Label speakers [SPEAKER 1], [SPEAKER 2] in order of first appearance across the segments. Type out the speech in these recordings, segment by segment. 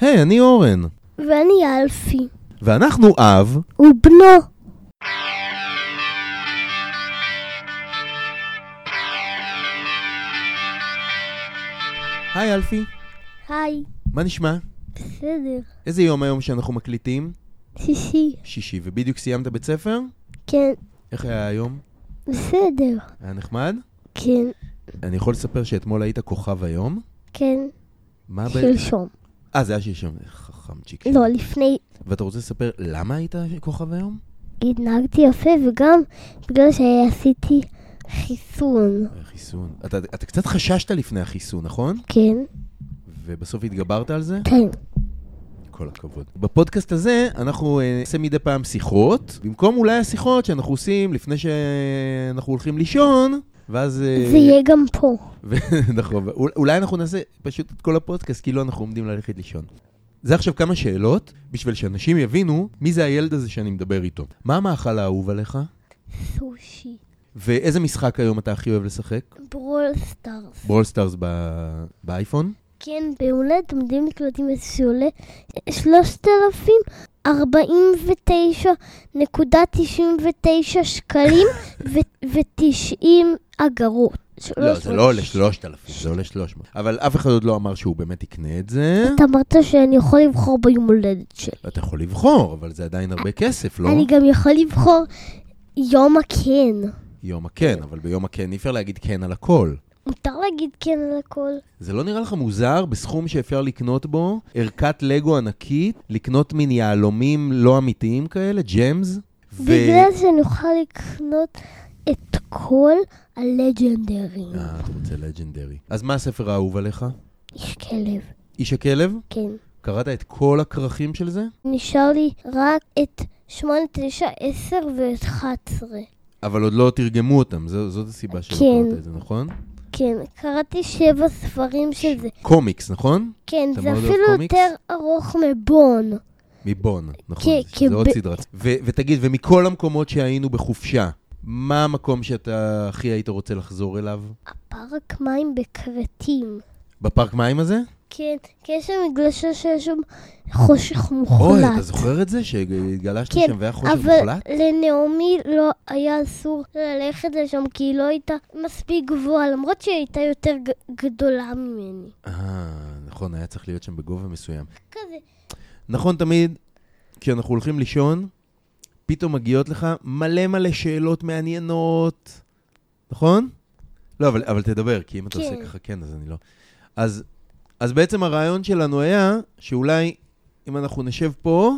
[SPEAKER 1] היי, אני אורן,
[SPEAKER 2] ואני אלפי,
[SPEAKER 1] ואנחנו אב,
[SPEAKER 2] הוא בנו.
[SPEAKER 1] היי אלפי,
[SPEAKER 2] היי,
[SPEAKER 1] מה נשמע?
[SPEAKER 2] בסדר.
[SPEAKER 1] איזה יום היום שאנחנו מקליטים?
[SPEAKER 2] שישי,
[SPEAKER 1] שישי, ובדיוק סיימת בית ספר?
[SPEAKER 2] כן,
[SPEAKER 1] איך היה היום?
[SPEAKER 2] בסדר.
[SPEAKER 1] היה נחמד?
[SPEAKER 2] כן,
[SPEAKER 1] אני יכול לספר שאתמול היית כוכב היום?
[SPEAKER 2] כן,
[SPEAKER 1] מה ב...
[SPEAKER 2] שלשום.
[SPEAKER 1] אה, זה היה שלשום. חכמצ'יק.
[SPEAKER 2] לא, לפני
[SPEAKER 1] ואתה רוצה לספר למה היית כוכב היום?
[SPEAKER 2] התנהגתי יפה, וגם בגלל שעשיתי חיסון.
[SPEAKER 1] חיסון. אתה, אתה קצת חששת לפני החיסון, נכון?
[SPEAKER 2] כן,
[SPEAKER 1] ובסוף התגברת על זה?
[SPEAKER 2] כן,
[SPEAKER 1] כל הכבוד. בפודקאסט הזה אנחנו אה, נעשה מדי פעם שיחות, במקום אולי השיחות שאנחנו עושים לפני שאנחנו הולכים לישון, ואז... אה,
[SPEAKER 2] זה יהיה גם פה.
[SPEAKER 1] ו- נכון, ואול- אולי אנחנו נעשה פשוט את כל הפודקאסט, כאילו אנחנו עומדים ללכת לישון. זה עכשיו כמה שאלות, בשביל שאנשים יבינו מי זה הילד הזה שאני מדבר איתו. מה המאכל האהוב עליך?
[SPEAKER 2] סושי,
[SPEAKER 1] ואיזה משחק היום אתה הכי אוהב לשחק?
[SPEAKER 2] ברול סטארס.
[SPEAKER 1] ברול סטארס ב- באייפון?
[SPEAKER 2] כן, בעולה תלמידים נקלטים בסולה 3,049.99 שקלים ו-90 אגרות.
[SPEAKER 1] לא, זה לא עולה 3,000, זה עולה 300. אבל אף אחד עוד לא אמר שהוא באמת יקנה את זה.
[SPEAKER 2] אתה אמרת שאני יכול לבחור ביום הולדת שלי.
[SPEAKER 1] אתה יכול לבחור, אבל זה עדיין הרבה כסף, לא?
[SPEAKER 2] אני גם יכול לבחור יום הכן.
[SPEAKER 1] יום הכן, אבל ביום הכן אי אפשר להגיד כן על הכל.
[SPEAKER 2] מותר להגיד כן על הכל.
[SPEAKER 1] זה לא נראה לך מוזר בסכום שאפשר לקנות בו ערכת לגו ענקית, לקנות מין יהלומים לא אמיתיים כאלה, ג'מס?
[SPEAKER 2] בגלל שאני אוכל לקנות את כל הלג'נדרים.
[SPEAKER 1] אה, אתה רוצה לג'נדרי. אז מה הספר האהוב עליך?
[SPEAKER 2] איש כלב,
[SPEAKER 1] איש הכלב?
[SPEAKER 2] כן.
[SPEAKER 1] קראת את כל הכרכים של זה?
[SPEAKER 2] נשאר לי רק את 8, 9, 10 ו-11.
[SPEAKER 1] אבל עוד לא תרגמו אותם, זו- זאת הסיבה שלא
[SPEAKER 2] כן.
[SPEAKER 1] קראת את זה, נכון?
[SPEAKER 2] כן, קראתי שבע ספרים של זה.
[SPEAKER 1] קומיקס, נכון?
[SPEAKER 2] כן,
[SPEAKER 1] אתה
[SPEAKER 2] זה
[SPEAKER 1] מאוד אוהב
[SPEAKER 2] אפילו
[SPEAKER 1] קומיקס?
[SPEAKER 2] יותר ארוך מבון.
[SPEAKER 1] מבון, נכון,
[SPEAKER 2] כן,
[SPEAKER 1] זה-
[SPEAKER 2] כן,
[SPEAKER 1] זה עוד
[SPEAKER 2] ב-
[SPEAKER 1] סדרת. ו- ותגיד, ומכל המקומות שהיינו בחופשה, מה המקום שאתה הכי היית רוצה לחזור אליו?
[SPEAKER 2] הפארק מים בכרתים.
[SPEAKER 1] בפארק מים הזה?
[SPEAKER 2] כן, כי יש שם מגלשה שיש שם חושך
[SPEAKER 1] אוי, אתה
[SPEAKER 2] מוחלט.
[SPEAKER 1] זוכר את זה? שהתגלשת
[SPEAKER 2] כן,
[SPEAKER 1] שם והיה חושך
[SPEAKER 2] אבל
[SPEAKER 1] מוחלט?
[SPEAKER 2] לנעמי לא היה אסור ללכת לשם כי היא לא הייתה מספיק גבוהה, למרות שהיא הייתה יותר ג- גדולה ממני.
[SPEAKER 1] אה, נכון, היה צריך להיות שם בגובה מסוים.
[SPEAKER 2] כזה,
[SPEAKER 1] נכון, תמיד, כשאנחנו הולכים לישון, פתאום מגיעות לך מלא מלא שאלות מעניינות, נכון? לא, אבל, אבל תדבר, כי אם אתה עושה
[SPEAKER 2] כן.
[SPEAKER 1] ככה כן, אז אני לא... אז, אז בעצם הרעיון שלנו היה שאולי אם אנחנו נשב פה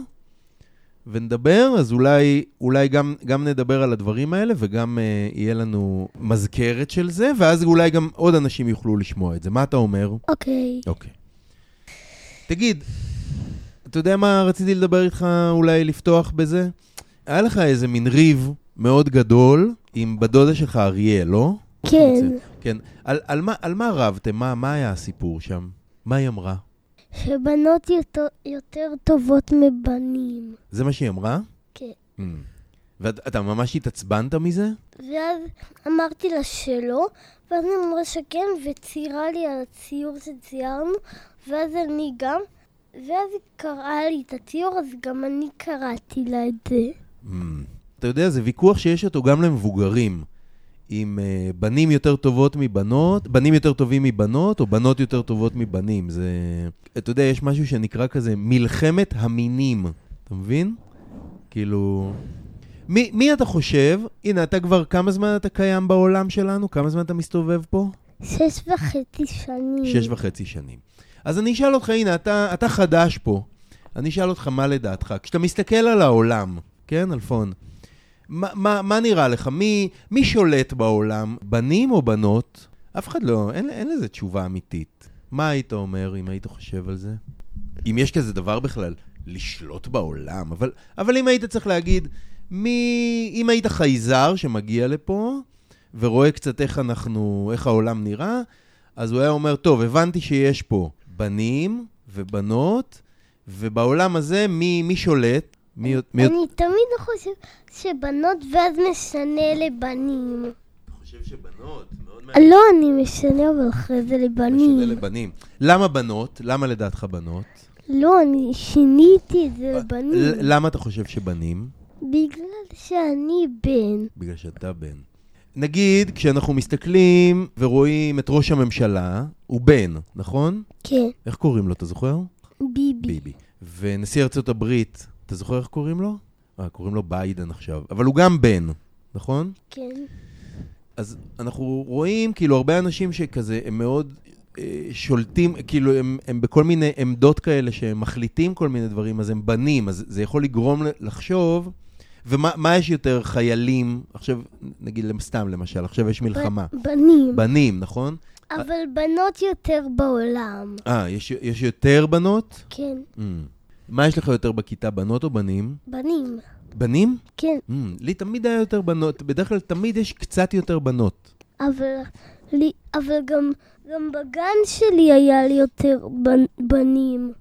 [SPEAKER 1] ונדבר, אז אולי, אולי גם, גם נדבר על הדברים האלה וגם אה, יהיה לנו מזכרת של זה, ואז אולי גם עוד אנשים יוכלו לשמוע את זה. מה אתה אומר?
[SPEAKER 2] אוקיי.
[SPEAKER 1] אוקיי. תגיד, אתה יודע מה רציתי לדבר איתך אולי לפתוח בזה? היה לך איזה מין ריב מאוד גדול עם בת דודה שלך אריה, לא?
[SPEAKER 2] כן.
[SPEAKER 1] כן. על, על, מה, על מה רבתם? מה, מה היה הסיפור שם? מה היא אמרה?
[SPEAKER 2] שבנות יותר, יותר טובות מבנים.
[SPEAKER 1] זה מה שהיא אמרה?
[SPEAKER 2] כן.
[SPEAKER 1] Mm. ואתה ממש התעצבנת מזה?
[SPEAKER 2] ואז אמרתי לה שלא, ואז היא אמרה שכן, וציירה לי על הציור שציירנו, ואז אני גם, ואז היא קראה לי את הציור, אז גם אני קראתי לה את זה.
[SPEAKER 1] Mm. אתה יודע, זה ויכוח שיש אותו גם למבוגרים. עם uh, בנים יותר טובות מבנות, בנים יותר טובים מבנות, או בנות יותר טובות מבנים. זה... אתה יודע, יש משהו שנקרא כזה מלחמת המינים. אתה מבין? כאילו... מי, מי אתה חושב? הנה, אתה כבר כמה זמן אתה קיים בעולם שלנו? כמה זמן אתה מסתובב פה?
[SPEAKER 2] שש וחצי שנים.
[SPEAKER 1] שש וחצי שנים. אז אני אשאל אותך, הנה, אתה, אתה חדש פה. אני אשאל אותך מה לדעתך. כשאתה מסתכל על העולם, כן, אלפון, מה, מה, מה נראה לך? מי, מי שולט בעולם, בנים או בנות? אף אחד לא, אין, אין לזה תשובה אמיתית. מה היית אומר אם היית חושב על זה? אם יש כזה דבר בכלל, לשלוט בעולם, אבל, אבל אם היית צריך להגיד, מי, אם היית חייזר שמגיע לפה ורואה קצת איך אנחנו, איך העולם נראה, אז הוא היה אומר, טוב, הבנתי שיש פה בנים ובנות, ובעולם הזה מי, מי שולט? מי, מי,
[SPEAKER 2] אני תמיד חושב שבנות ואז משנה לבנים.
[SPEAKER 1] חושב שבנות, מאוד
[SPEAKER 2] לא, אני משנה אבל אחרי זה לבנים.
[SPEAKER 1] לבנים. למה בנות? למה לדעתך בנות?
[SPEAKER 2] לא, אני שיניתי את זה לבנים.
[SPEAKER 1] אה, ל- למה אתה חושב שבנים?
[SPEAKER 2] בגלל שאני בן.
[SPEAKER 1] בגלל שאתה בן. נגיד, כשאנחנו מסתכלים ורואים את ראש הממשלה, הוא בן, נכון?
[SPEAKER 2] כן,
[SPEAKER 1] איך קוראים לו, אתה זוכר?
[SPEAKER 2] ביבי.
[SPEAKER 1] ביבי. ונשיא ארצות הברית, אתה זוכר איך קוראים לו? אה, קוראים לו ביידן עכשיו. אבל הוא גם בן, נכון?
[SPEAKER 2] כן.
[SPEAKER 1] אז אנחנו רואים כאילו הרבה אנשים שכזה, הם מאוד אה, שולטים, כאילו הם, הם בכל מיני עמדות כאלה שהם מחליטים כל מיני דברים, אז הם בנים, אז זה יכול לגרום ל- לחשוב, ומה מה יש יותר חיילים, עכשיו, נגיד סתם למשל, עכשיו יש מלחמה.
[SPEAKER 2] ב- בנים.
[SPEAKER 1] בנים, נכון?
[SPEAKER 2] אבל בנות יותר בעולם.
[SPEAKER 1] אה, יש, יש יותר בנות?
[SPEAKER 2] כן,
[SPEAKER 1] Mm. מה יש לך יותר בכיתה, בנות או בנים?
[SPEAKER 2] בנים.
[SPEAKER 1] בנים?
[SPEAKER 2] כן,
[SPEAKER 1] Mm, לי תמיד היה יותר בנות, בדרך כלל תמיד יש קצת יותר בנות.
[SPEAKER 2] אבל, לי, אבל גם, גם בגן שלי היה לי יותר בנ, בנים.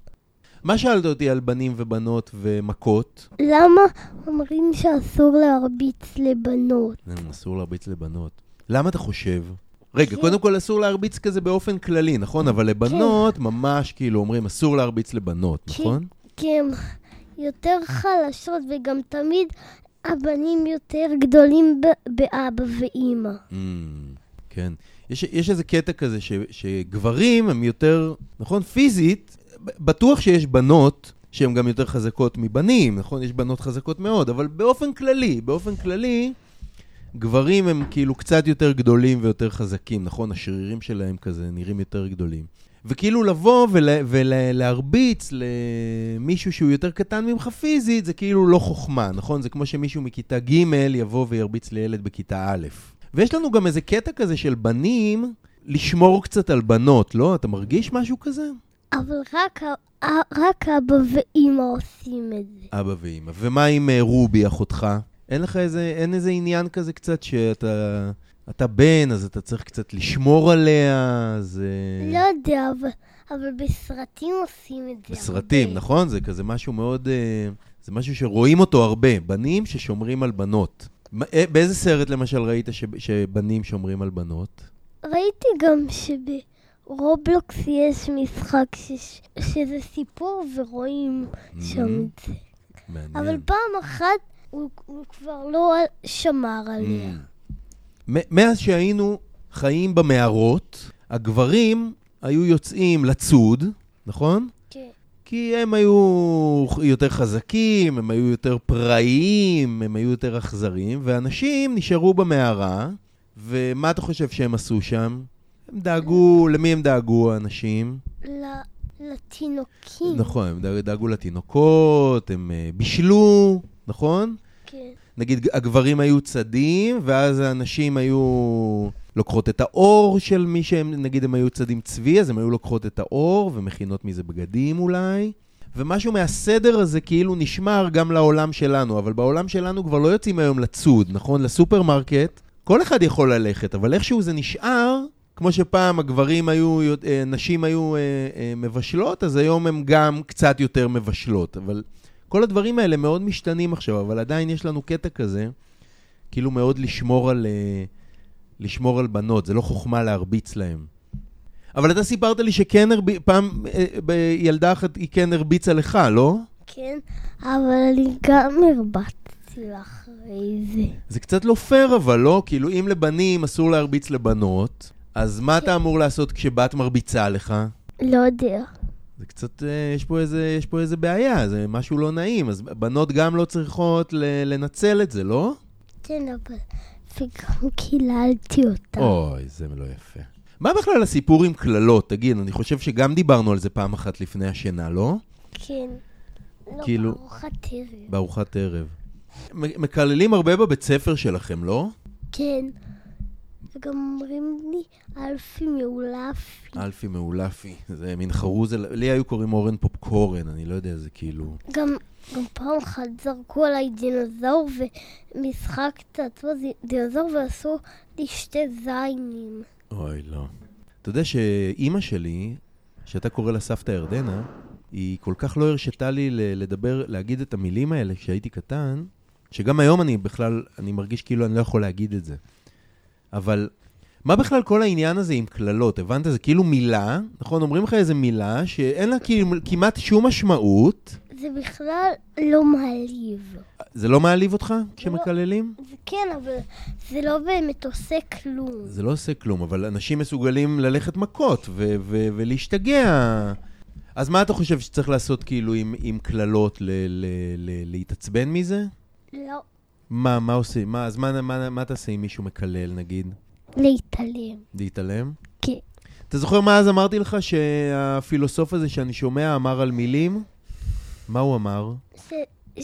[SPEAKER 1] מה שאלת אותי על בנים ובנות ומכות?
[SPEAKER 2] למה אומרים שאסור להרביץ לבנות?
[SPEAKER 1] לנו אסור להרביץ לבנות. למה אתה חושב? רגע,
[SPEAKER 2] כי-
[SPEAKER 1] קודם כל אסור להרביץ כזה באופן כללי, נכון? אבל לבנות ממש כאילו אומרים אסור להרביץ לבנות,
[SPEAKER 2] כי-
[SPEAKER 1] נכון?
[SPEAKER 2] כי הן יותר חלשות וגם תמיד הבנים יותר גדולים ב- באבא ואימא.
[SPEAKER 1] Mm, כן. יש, יש איזה קטע כזה ש, שגברים הם יותר, נכון? פיזית, ב- בטוח שיש בנות שהן גם יותר חזקות מבנים, נכון? יש בנות חזקות מאוד, אבל באופן כללי, באופן כללי, גברים הם כאילו קצת יותר גדולים ויותר חזקים, נכון? השרירים שלהם כזה נראים יותר גדולים. וכאילו לבוא ולהרביץ למישהו שהוא יותר קטן ממך פיזית, זה כאילו לא חוכמה, נכון? זה כמו שמישהו מכיתה ג' יבוא וירביץ לילד בכיתה א'. ויש לנו גם איזה קטע כזה של בנים לשמור קצת על בנות, לא? אתה מרגיש משהו כזה?
[SPEAKER 2] אבל רק, ה- ה- רק אבא ואימא עושים את זה.
[SPEAKER 1] אבא ואימא. ומה עם אה, רובי, אחותך? אין לך איזה, אין איזה עניין כזה קצת שאתה... אתה בן, אז אתה צריך קצת לשמור עליה, אז... אה,
[SPEAKER 2] לא יודע, אבל, אבל בסרטים עושים את זה.
[SPEAKER 1] בסרטים,
[SPEAKER 2] כן, הרבה.
[SPEAKER 1] נכון? זה כזה משהו מאוד... אה, זה משהו שרואים אותו הרבה, בנים ששומרים על בנות. מה- אה, באיזה סרט למשל ראית ש- שבנים שומרים על בנות?
[SPEAKER 2] ראיתי גם שברובלוקס יש משחק ש- שזה סיפור ורואים
[SPEAKER 1] Mm-hmm.
[SPEAKER 2] שם את זה.
[SPEAKER 1] מעניין. Mm.
[SPEAKER 2] אבל פעם אחת הוא, הוא כבר לא שמר עליה.
[SPEAKER 1] Mm. מ- מאז שהיינו חיים במערות, הגברים היו יוצאים לצוד, נכון?
[SPEAKER 2] כן.
[SPEAKER 1] כי הם היו יותר חזקים, הם היו יותר פראיים, הם היו יותר אכזרים, ואנשים נשארו במערה, ומה אתה חושב שהם עשו שם? הם דאגו, למי הם דאגו, האנשים?
[SPEAKER 2] ל- לתינוקים.
[SPEAKER 1] נכון, הם דאג- דאגו לתינוקות, הם אה, בישלו, נכון?
[SPEAKER 2] כן.
[SPEAKER 1] נגיד, הגברים היו צדים, ואז הנשים היו לוקחות את האור של מי שהם, נגיד, הם היו צדים צבי, אז הם היו לוקחות את האור ומכינות מזה בגדים אולי. ומשהו מהסדר הזה כאילו נשמר גם לעולם שלנו, אבל בעולם שלנו כבר לא יוצאים היום לצוד, נכון? לסופרמרקט, כל אחד יכול ללכת, אבל איכשהו זה נשאר, כמו שפעם הגברים היו, אה, נשים היו אה, אה, מבשלות, אז היום הן גם קצת יותר מבשלות, אבל כל הדברים האלה מאוד משתנים עכשיו, אבל עדיין יש לנו קטע כזה, כאילו מאוד לשמור על, אה, לשמור על בנות, זה לא חוכמה להרביץ להם. אבל אתה סיפרת לי שכן הרביץ, פעם אה, ב- ילדה אחת היא כן הרביצה לך, לא?
[SPEAKER 2] כן, אבל אני גם הרבצתי אחרי זה.
[SPEAKER 1] זה קצת לא פייר אבל, לא? כאילו, אם לבנים אסור להרביץ לבנות, אז מה אתה אמור לעשות כשבת מרביצה לך?
[SPEAKER 2] לא יודע.
[SPEAKER 1] זה קצת, אה, יש פה איזה, יש פה איזה בעיה, זה משהו לא נעים, אז בנות גם לא צריכות ל- לנצל את זה, לא?
[SPEAKER 2] כן, אבל... וגם קיללתי אותה.
[SPEAKER 1] אוי, זה לא יפה. מה בכלל הסיפור עם קללות? תגיד, אני חושב שגם דיברנו על זה פעם אחת לפני השינה, לא?
[SPEAKER 2] כן. לא,
[SPEAKER 1] כאילו-
[SPEAKER 2] בארוחת ערב.
[SPEAKER 1] בארוחת ערב. מ- מקללים הרבה בבית ספר שלכם, לא?
[SPEAKER 2] כן. וגם אומרים לי, אלפי מאולף.
[SPEAKER 1] אלפי מאולפי, זה מין חרוז, אל- לי היו קוראים אורן פופקורן, אני לא יודע, זה כאילו...
[SPEAKER 2] גם, גם פעם אחת זרקו עליי דינוזאור ומשחקת עצמו דינוזאור ועשו לי שתי זיינים.
[SPEAKER 1] אוי, לא. אתה יודע שאימא שלי, שאתה קורא לה סבתא ירדנה, היא כל כך לא הרשתה לי ל- לדבר, להגיד את המילים האלה כשהייתי קטן, שגם היום אני בכלל, אני מרגיש כאילו אני לא יכול להגיד את זה. אבל מה בכלל כל העניין הזה עם קללות? הבנת? זה כאילו מילה, נכון? אומרים לך איזה מילה שאין לה כאילו כמעט שום משמעות.
[SPEAKER 2] זה בכלל לא מעליב.
[SPEAKER 1] זה לא מעליב אותך כשמקללים?
[SPEAKER 2] זה כן, אבל זה לא באמת עושה כלום.
[SPEAKER 1] זה לא עושה כלום, אבל אנשים מסוגלים ללכת מכות ו- ו- ולהשתגע. אז מה אתה חושב שצריך לעשות כאילו עם, עם קללות? ל- ל- ל- להתעצבן מזה?
[SPEAKER 2] לא.
[SPEAKER 1] מה, מה עושים? מה, אז מה, מה, מה תעשה אם מישהו מקלל, נגיד?
[SPEAKER 2] להתעלם.
[SPEAKER 1] להתעלם?
[SPEAKER 2] כן.
[SPEAKER 1] אתה זוכר מה אז אמרתי לך שהפילוסוף הזה שאני שומע אמר על מילים? מה הוא אמר?
[SPEAKER 2] ש...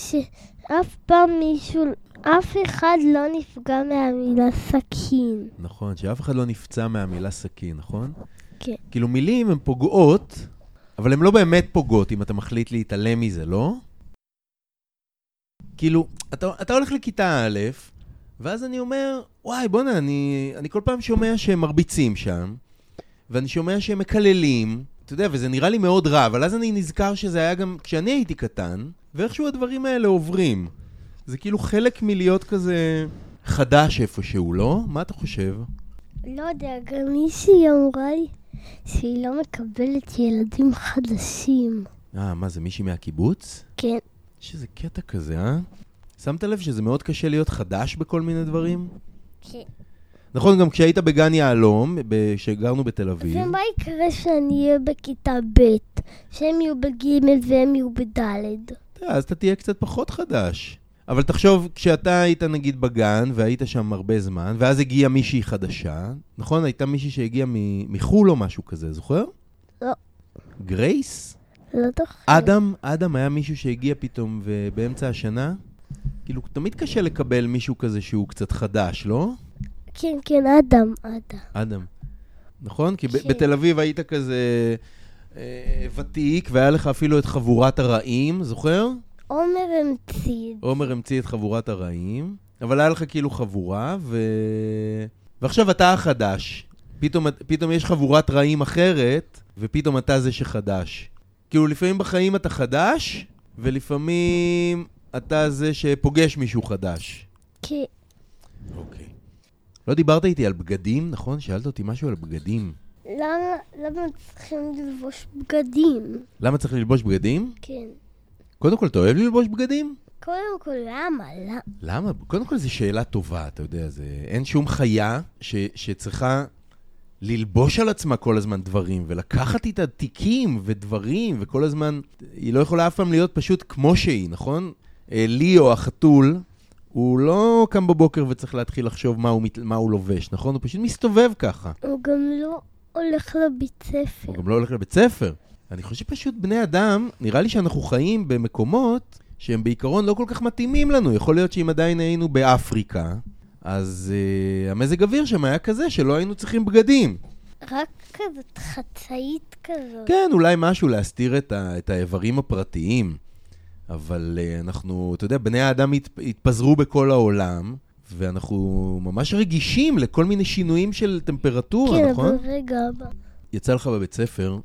[SPEAKER 2] שאף פעם מישהו, אף אחד לא נפגע מהמילה סכין.
[SPEAKER 1] נכון, שאף אחד לא נפצע מהמילה סכין, נכון?
[SPEAKER 2] כן.
[SPEAKER 1] כאילו מילים הן פוגעות, אבל הן לא באמת פוגעות אם אתה מחליט להתעלם מזה, לא? כאילו, אתה, אתה הולך לכיתה א', ואז אני אומר, וואי, בוא'נה, אני, אני כל פעם שומע שהם מרביצים שם, ואני שומע שהם מקללים, אתה יודע, וזה נראה לי מאוד רע, אבל אז אני נזכר שזה היה גם כשאני הייתי קטן, ואיכשהו הדברים האלה עוברים. זה כאילו חלק מלהיות כזה חדש איפשהו, לא? מה אתה חושב?
[SPEAKER 2] לא יודע, גם מישהי אמרה לי שהיא לא מקבלת ילדים חדשים.
[SPEAKER 1] אה, מה זה, מישהי מהקיבוץ?
[SPEAKER 2] כן.
[SPEAKER 1] יש איזה קטע כזה, אה? שמת לב שזה מאוד קשה להיות חדש בכל מיני דברים?
[SPEAKER 2] כן.
[SPEAKER 1] נכון, גם כשהיית בגן יהלום, ב- כשגרנו בתל אביב,
[SPEAKER 2] ומה יקרה שאני אהיה בכיתה ב', שהם יהיו בג' והם יהיו בד'?
[SPEAKER 1] אתה יודע, אז אתה תהיה קצת פחות חדש. אבל תחשוב, כשאתה היית נגיד בגן, והיית שם הרבה זמן, ואז הגיעה מישהי חדשה, נכון? הייתה מישהי שהגיעה מ- מחו"ל או משהו כזה, זוכר?
[SPEAKER 2] לא.
[SPEAKER 1] גרייס?
[SPEAKER 2] לא זוכר.
[SPEAKER 1] אדם, אדם היה מישהו שהגיע פתאום ובאמצע השנה? כאילו, תמיד קשה לקבל מישהו כזה שהוא קצת חדש, לא?
[SPEAKER 2] כן, כן, אדם, אדם.
[SPEAKER 1] אדם. נכון? כי ב-
[SPEAKER 2] כן.
[SPEAKER 1] בתל אביב היית כזה אה, ותיק, והיה לך אפילו את חבורת הרעים, זוכר?
[SPEAKER 2] עומר המציא.
[SPEAKER 1] עומר המציא את חבורת הרעים, אבל היה לך כאילו חבורה, ו... ועכשיו אתה החדש. פתאום, פתאום יש חבורת רעים אחרת, ופתאום אתה זה שחדש. כאילו, לפעמים בחיים אתה חדש, ולפעמים אתה זה שפוגש מישהו חדש.
[SPEAKER 2] כן.
[SPEAKER 1] אוקיי. לא דיברת איתי על בגדים, נכון? שאלת אותי משהו על בגדים.
[SPEAKER 2] למה, למה צריכים ללבוש בגדים?
[SPEAKER 1] למה צריך ללבוש בגדים?
[SPEAKER 2] כן.
[SPEAKER 1] קודם כל, אתה אוהב ללבוש בגדים?
[SPEAKER 2] קודם כל, למה? למה?
[SPEAKER 1] למה? קודם כל, זו שאלה טובה, אתה יודע, זה... אין שום חיה ש... שצריכה ללבוש על עצמה כל הזמן דברים, ולקחת איתה תיקים ודברים, וכל הזמן... היא לא יכולה אף פעם להיות פשוט כמו שהיא, נכון? אה, ליאו, החתול, הוא לא קם בבוקר וצריך להתחיל לחשוב מה הוא, מת... מה הוא לובש, נכון? הוא פשוט מסתובב ככה.
[SPEAKER 2] הוא גם לא הולך לבית ספר.
[SPEAKER 1] הוא גם לא הולך לבית ספר. אני חושב פשוט בני אדם, נראה לי שאנחנו חיים במקומות שהם בעיקרון לא כל כך מתאימים לנו. יכול להיות שאם עדיין היינו באפריקה, אז uh, המזג אוויר שם היה כזה שלא היינו צריכים בגדים.
[SPEAKER 2] רק כזאת חצאית כזאת.
[SPEAKER 1] כן, אולי משהו להסתיר את, ה, את האיברים הפרטיים, אבל uh, אנחנו, אתה יודע, בני האדם הת, התפזרו בכל העולם, ואנחנו ממש רגישים לכל מיני שינויים של טמפרטורה,
[SPEAKER 2] כן,
[SPEAKER 1] נכון?
[SPEAKER 2] אבל רגע, אבא.
[SPEAKER 1] יצא לך בבית ספר,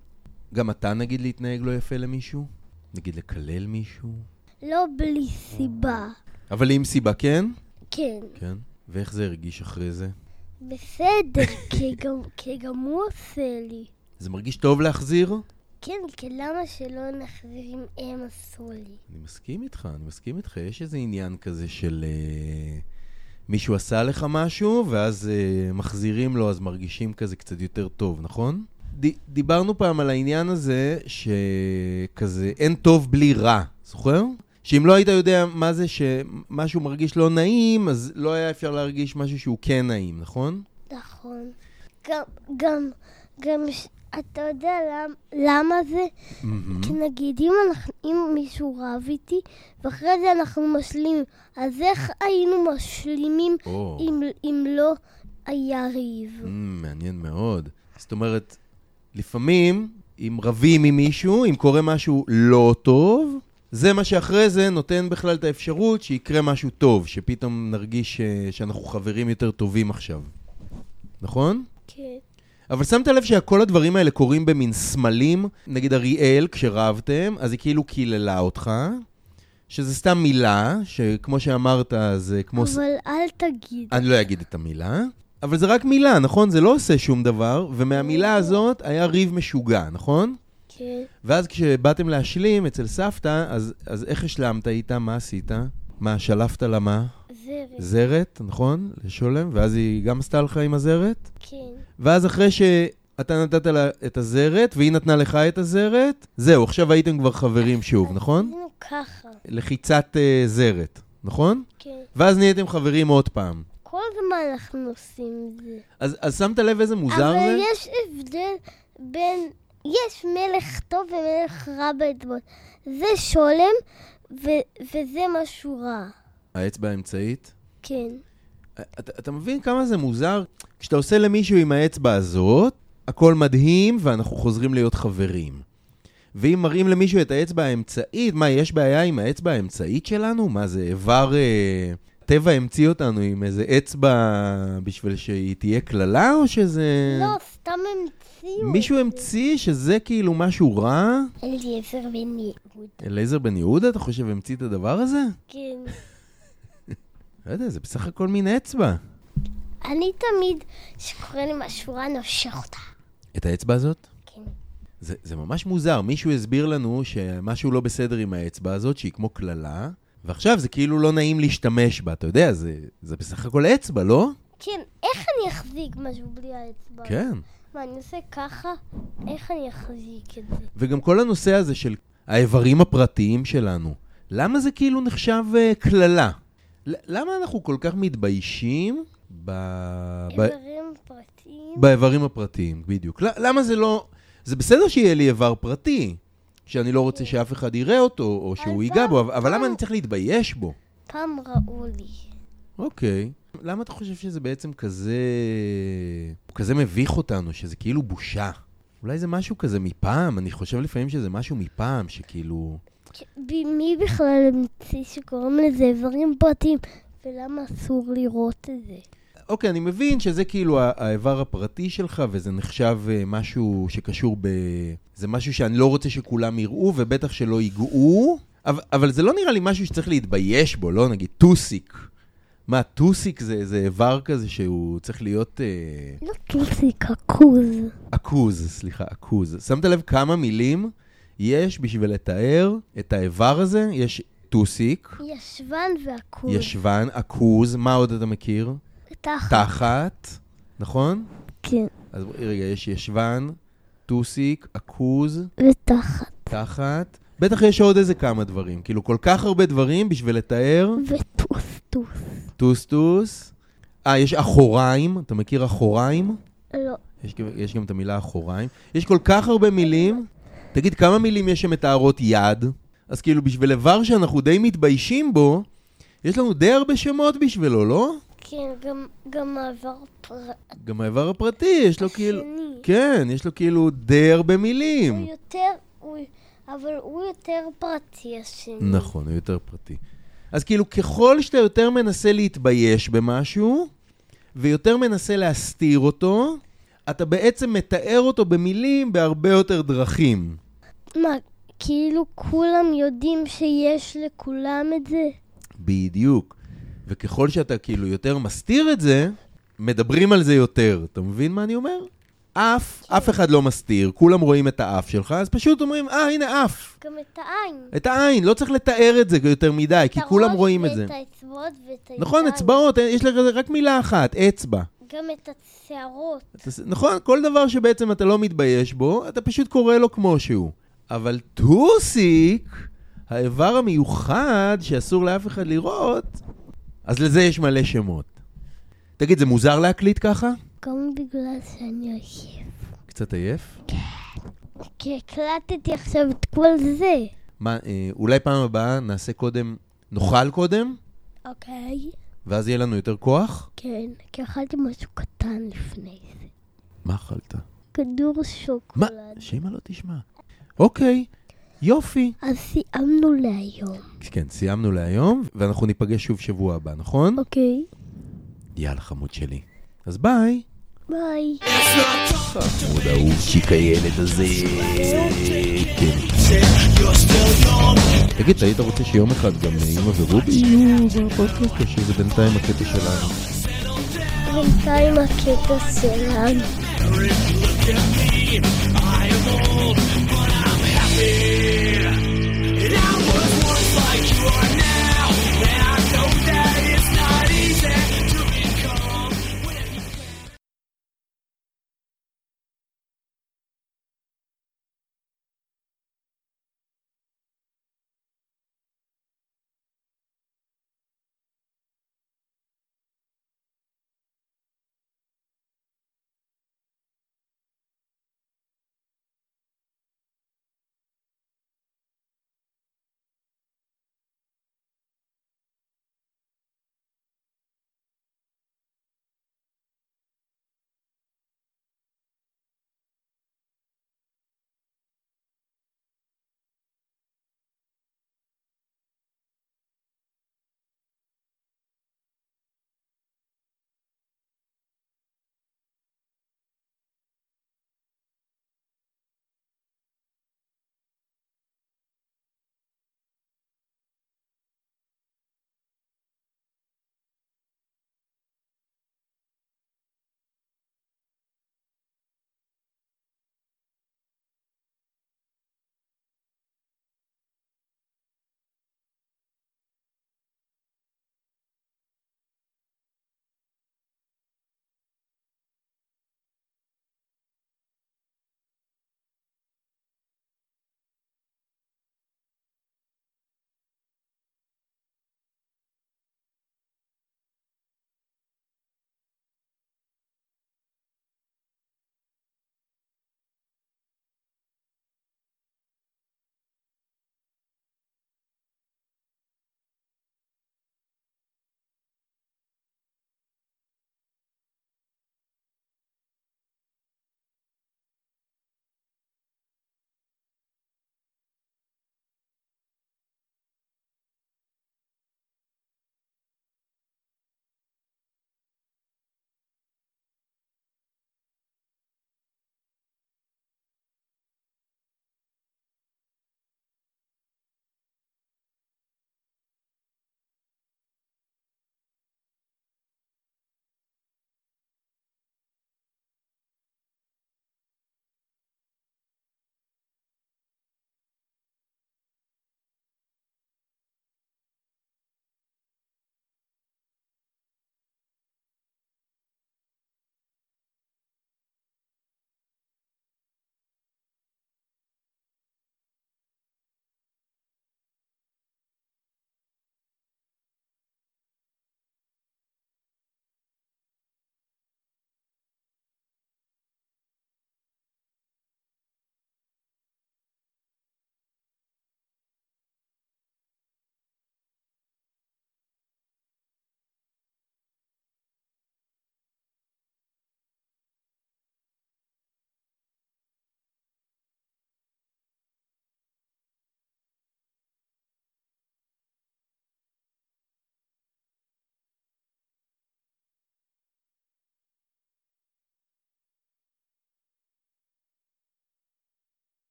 [SPEAKER 1] גם אתה נגיד להתנהג לא יפה למישהו? נגיד לקלל מישהו?
[SPEAKER 2] לא בלי סיבה.
[SPEAKER 1] אבל עם סיבה כן?
[SPEAKER 2] כן.
[SPEAKER 1] כן. ואיך זה הרגיש אחרי זה?
[SPEAKER 2] בסדר, כי גם, כי גם הוא עושה לי.
[SPEAKER 1] זה מרגיש טוב להחזיר?
[SPEAKER 2] כן, כי למה שלא נחזיר אם הם עשו לי?
[SPEAKER 1] אני מסכים איתך, אני מסכים איתך. יש איזה עניין כזה של אה, מישהו עשה לך משהו, ואז אה, מחזירים לו, אז מרגישים כזה קצת יותר טוב, נכון? ד, דיברנו פעם על העניין הזה שכזה אין טוב בלי רע, זוכר? שאם לא היית יודע מה זה שמשהו מרגיש לא נעים, אז לא היה אפשר להרגיש משהו שהוא כן נעים, נכון?
[SPEAKER 2] נכון. גם, גם, גם, ש... אתה יודע למ, למה זה?
[SPEAKER 1] Mm-hmm.
[SPEAKER 2] כי נגיד אם, אנחנו, אם מישהו רב איתי, ואחרי זה אנחנו משלימים, אז איך היינו משלימים
[SPEAKER 1] או,
[SPEAKER 2] אם, אם לא היה ריב?
[SPEAKER 1] אמ, מעניין מאוד. זאת אומרת, לפעמים, אם רבים עם מישהו, אם קורה משהו לא טוב, זה מה שאחרי זה נותן בכלל את האפשרות שיקרה משהו טוב, שפתאום נרגיש אה, שאנחנו חברים יותר טובים עכשיו. נכון?
[SPEAKER 2] כן.
[SPEAKER 1] אבל שמת לב שכל הדברים האלה קורים במין סמלים, נגיד אריאל, כשרבתם, אז היא כאילו קיללה אותך, שזה סתם מילה, שכמו שאמרת, זה כמו... ס-
[SPEAKER 2] אבל אל תגיד.
[SPEAKER 1] אני לא אגיד את המילה, אבל זה רק מילה, נכון? זה לא עושה שום דבר, ומהמילה הזאת היה ריב משוגע, נכון?
[SPEAKER 2] כן.
[SPEAKER 1] ואז כשבאתם להשלים אצל סבתא, אז, אז איך השלמת איתה? מה עשית? מה, שלפת לה מה?
[SPEAKER 2] זרם.
[SPEAKER 1] זרת, נכון? לשולם, ואז היא גם עשתה לך עם הזרת?
[SPEAKER 2] כן.
[SPEAKER 1] ואז אחרי שאתה נתת לה את הזרת, והיא נתנה לך את הזרת, זהו, עכשיו הייתם כבר חברים שוב, נכון?
[SPEAKER 2] עשינו ככה.
[SPEAKER 1] לחיצת אה, זרת, נכון?
[SPEAKER 2] כן.
[SPEAKER 1] ואז נהייתם חברים עוד פעם.
[SPEAKER 2] כל הזמן אנחנו עושים את זה.
[SPEAKER 1] אז, אז שמת לב איזה מוזר
[SPEAKER 2] אבל
[SPEAKER 1] זה?
[SPEAKER 2] יש הבדל בין... יש מלך טוב ומלך רע באצבעות. זה שולם ו- וזה משהו רע.
[SPEAKER 1] האצבע האמצעית? אה,
[SPEAKER 2] כן.
[SPEAKER 1] אתה, אתה מבין כמה זה מוזר? כשאתה עושה למישהו עם האצבע הזאת, הכל מדהים ואנחנו חוזרים להיות חברים. ואם מראים למישהו את האצבע האמצעית, מה, יש בעיה עם האצבע האמצעית שלנו? מה זה, איבר... אה, טבע המציא אותנו עם איזה אצבע בשביל שהיא תהיה קללה, או שזה...
[SPEAKER 2] לא, סתם המציאו.
[SPEAKER 1] אה. מישהו המציא שזה כאילו משהו רע?
[SPEAKER 2] אליעזר בן יהוד.
[SPEAKER 1] אליעזר בן יהודה, אתה חושב, המציא את הדבר הזה?
[SPEAKER 2] כן.
[SPEAKER 1] לא יודע, זה בסך הכל מין אצבע.
[SPEAKER 2] אני תמיד, כשקורה לי משהו רע, נושך אותה.
[SPEAKER 1] את האצבע הזאת?
[SPEAKER 2] כן.
[SPEAKER 1] זה, זה ממש מוזר, מישהו הסביר לנו שמשהו לא בסדר עם האצבע הזאת, שהיא כמו קללה, ועכשיו זה כאילו לא נעים להשתמש בה, אתה יודע, זה, זה בסך הכל אצבע, לא?
[SPEAKER 2] כן, איך אני אחזיק משהו בלי האצבע?
[SPEAKER 1] כן.
[SPEAKER 2] מה, אני עושה ככה? איך אני אחזיק את זה?
[SPEAKER 1] וגם כל הנושא הזה של האיברים הפרטיים שלנו, למה זה כאילו נחשב אה, קללה? ל- למה אנחנו כל כך מתביישים ב... ב...
[SPEAKER 2] איברים פרטיים?
[SPEAKER 1] באיברים הפרטיים, בדיוק. ל- למה זה לא... זה בסדר שיהיה לי איבר פרטי, שאני לא רוצה שאף אחד יראה אותו, או שהוא ייגע בו, אבל- אבל למה אני צריך להתבייש בו?
[SPEAKER 2] פעם ראו לי.
[SPEAKER 1] אוקיי. למה אתה חושב שזה בעצם כזה... הוא כזה מביך אותנו, שזה כאילו בושה? אולי זה משהו כזה מפעם, אני חושב לפעמים שזה משהו מפעם, שכאילו...
[SPEAKER 2] כן, ב- מי בכלל המציא שקוראים לזה איברים פרטיים? ולמה אסור לראות את זה?
[SPEAKER 1] אוקיי, אני מבין שזה כאילו ה- האיבר הפרטי שלך, וזה נחשב אה, משהו שקשור ב... זה משהו שאני לא רוצה שכולם יראו, ובטח שלא ייגעו, אבל, אבל זה לא נראה לי משהו שצריך להתבייש בו, לא נגיד טוסיק. מה, טוסיק זה, זה איבר כזה שהוא צריך להיות... אה,
[SPEAKER 2] לא טוסי, קקוז.
[SPEAKER 1] עכוז, סליחה, עכוז. שמת לב כמה מילים יש בשביל לתאר את האיבר הזה? יש טוסיק,
[SPEAKER 2] ישבן ועקוז.
[SPEAKER 1] ישבן, עכוז, מה עוד אתה מכיר?
[SPEAKER 2] תחת.
[SPEAKER 1] תחת, נכון?
[SPEAKER 2] כן.
[SPEAKER 1] אז רגע, יש ישבן, טוסיק, עכוז,
[SPEAKER 2] ותחת.
[SPEAKER 1] תחת. בטח יש עוד איזה כמה דברים. כאילו, כל כך הרבה דברים בשביל לתאר.
[SPEAKER 2] וטוסטוס.
[SPEAKER 1] טוסטוס. אה, יש אחוריים, אתה מכיר אחוריים?
[SPEAKER 2] לא.
[SPEAKER 1] יש, גם- יש גם את המילה אחוריים. יש כל כך הרבה מילים. תגיד, כמה מילים יש שמתארות יד? אז כאילו, בשביל איבר שאנחנו די מתביישים בו, יש לנו די הרבה שמות בשבילו, לא?
[SPEAKER 2] כן, גם, גם מעבר פרטי.
[SPEAKER 1] גם האיבר הפרטי, יש לו כאילו...
[SPEAKER 2] השני.
[SPEAKER 1] כן, יש לו כאילו די הרבה מילים.
[SPEAKER 2] הוא יותר, הוא, אבל הוא יותר פרטי השני.
[SPEAKER 1] נכון, הוא יותר פרטי. אז כאילו, ככל שאתה יותר מנסה להתבייש במשהו, ויותר מנסה להסתיר אותו, אתה בעצם מתאר אותו במילים בהרבה יותר דרכים.
[SPEAKER 2] מה, כאילו כולם יודעים שיש לכולם את זה?
[SPEAKER 1] בדיוק. וככל שאתה כאילו יותר מסתיר את זה, מדברים על זה יותר. אתה מבין מה אני אומר? אף, אף אחד לא מסתיר, כולם רואים את האף שלך, אז פשוט אומרים, אה, הנה אף.
[SPEAKER 2] גם את העין.
[SPEAKER 1] את העין, לא צריך לתאר את זה יותר מדי, כי
[SPEAKER 2] את
[SPEAKER 1] כולם
[SPEAKER 2] הראש
[SPEAKER 1] רואים את זה.
[SPEAKER 2] ואת האצבעות ואת הידיים.
[SPEAKER 1] נכון, אצבעות, יש לזה רק מילה אחת, אצבע.
[SPEAKER 2] גם את השערות.
[SPEAKER 1] אתה ס- נכון, כל דבר שבעצם אתה לא מתבייש בו, אתה פשוט קורא לו כמו שהוא. אבל טוסיק, האיבר המיוחד שאסור לאף אחד לראות, אז לזה יש מלא שמות. תגיד, זה מוזר להקליט ככה?
[SPEAKER 2] גם בגלל שאני אוהב.
[SPEAKER 1] קצת עייף?
[SPEAKER 2] כי הקלטתי עכשיו את כל זה.
[SPEAKER 1] מה, אה, אולי פעם הבאה נעשה קודם, נאכל קודם,
[SPEAKER 2] אוקיי.
[SPEAKER 1] ואז יהיה לנו יותר כוח?
[SPEAKER 2] כן, כי אכלתי משהו קטן לפני זה.
[SPEAKER 1] מה אכלת?
[SPEAKER 2] כדור
[SPEAKER 1] מה?
[SPEAKER 2] שוקולד.
[SPEAKER 1] שאמא לא תשמע. אוקיי, יופי.
[SPEAKER 2] אז סיימנו להיום.
[SPEAKER 1] כן, סיימנו להיום, ואנחנו ניפגש שוב שבוע הבא, נכון?
[SPEAKER 2] אוקיי.
[SPEAKER 1] יאללה, חמוד שלי. אז ביי.
[SPEAKER 2] ביי.
[SPEAKER 1] חמוד אהובשיק הילד הזה. תגיד, אתה היית רוצה שיום אחד גם אימא ורובי יהיו בפודקאסט, או שזה בינתיים הקטע שלנו?
[SPEAKER 2] אבל בינתיים הקטע שלנו.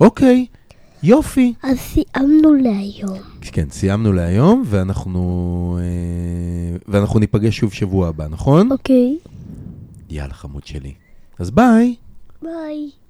[SPEAKER 1] אוקיי, יופי.
[SPEAKER 2] אז סיימנו להיום.
[SPEAKER 1] כן, סיימנו להיום, ואנחנו, אה, ואנחנו ניפגש שוב שבוע הבא, נכון?
[SPEAKER 2] אוקיי,
[SPEAKER 1] יאללה, חמוד שלי. אז ביי.
[SPEAKER 2] ביי.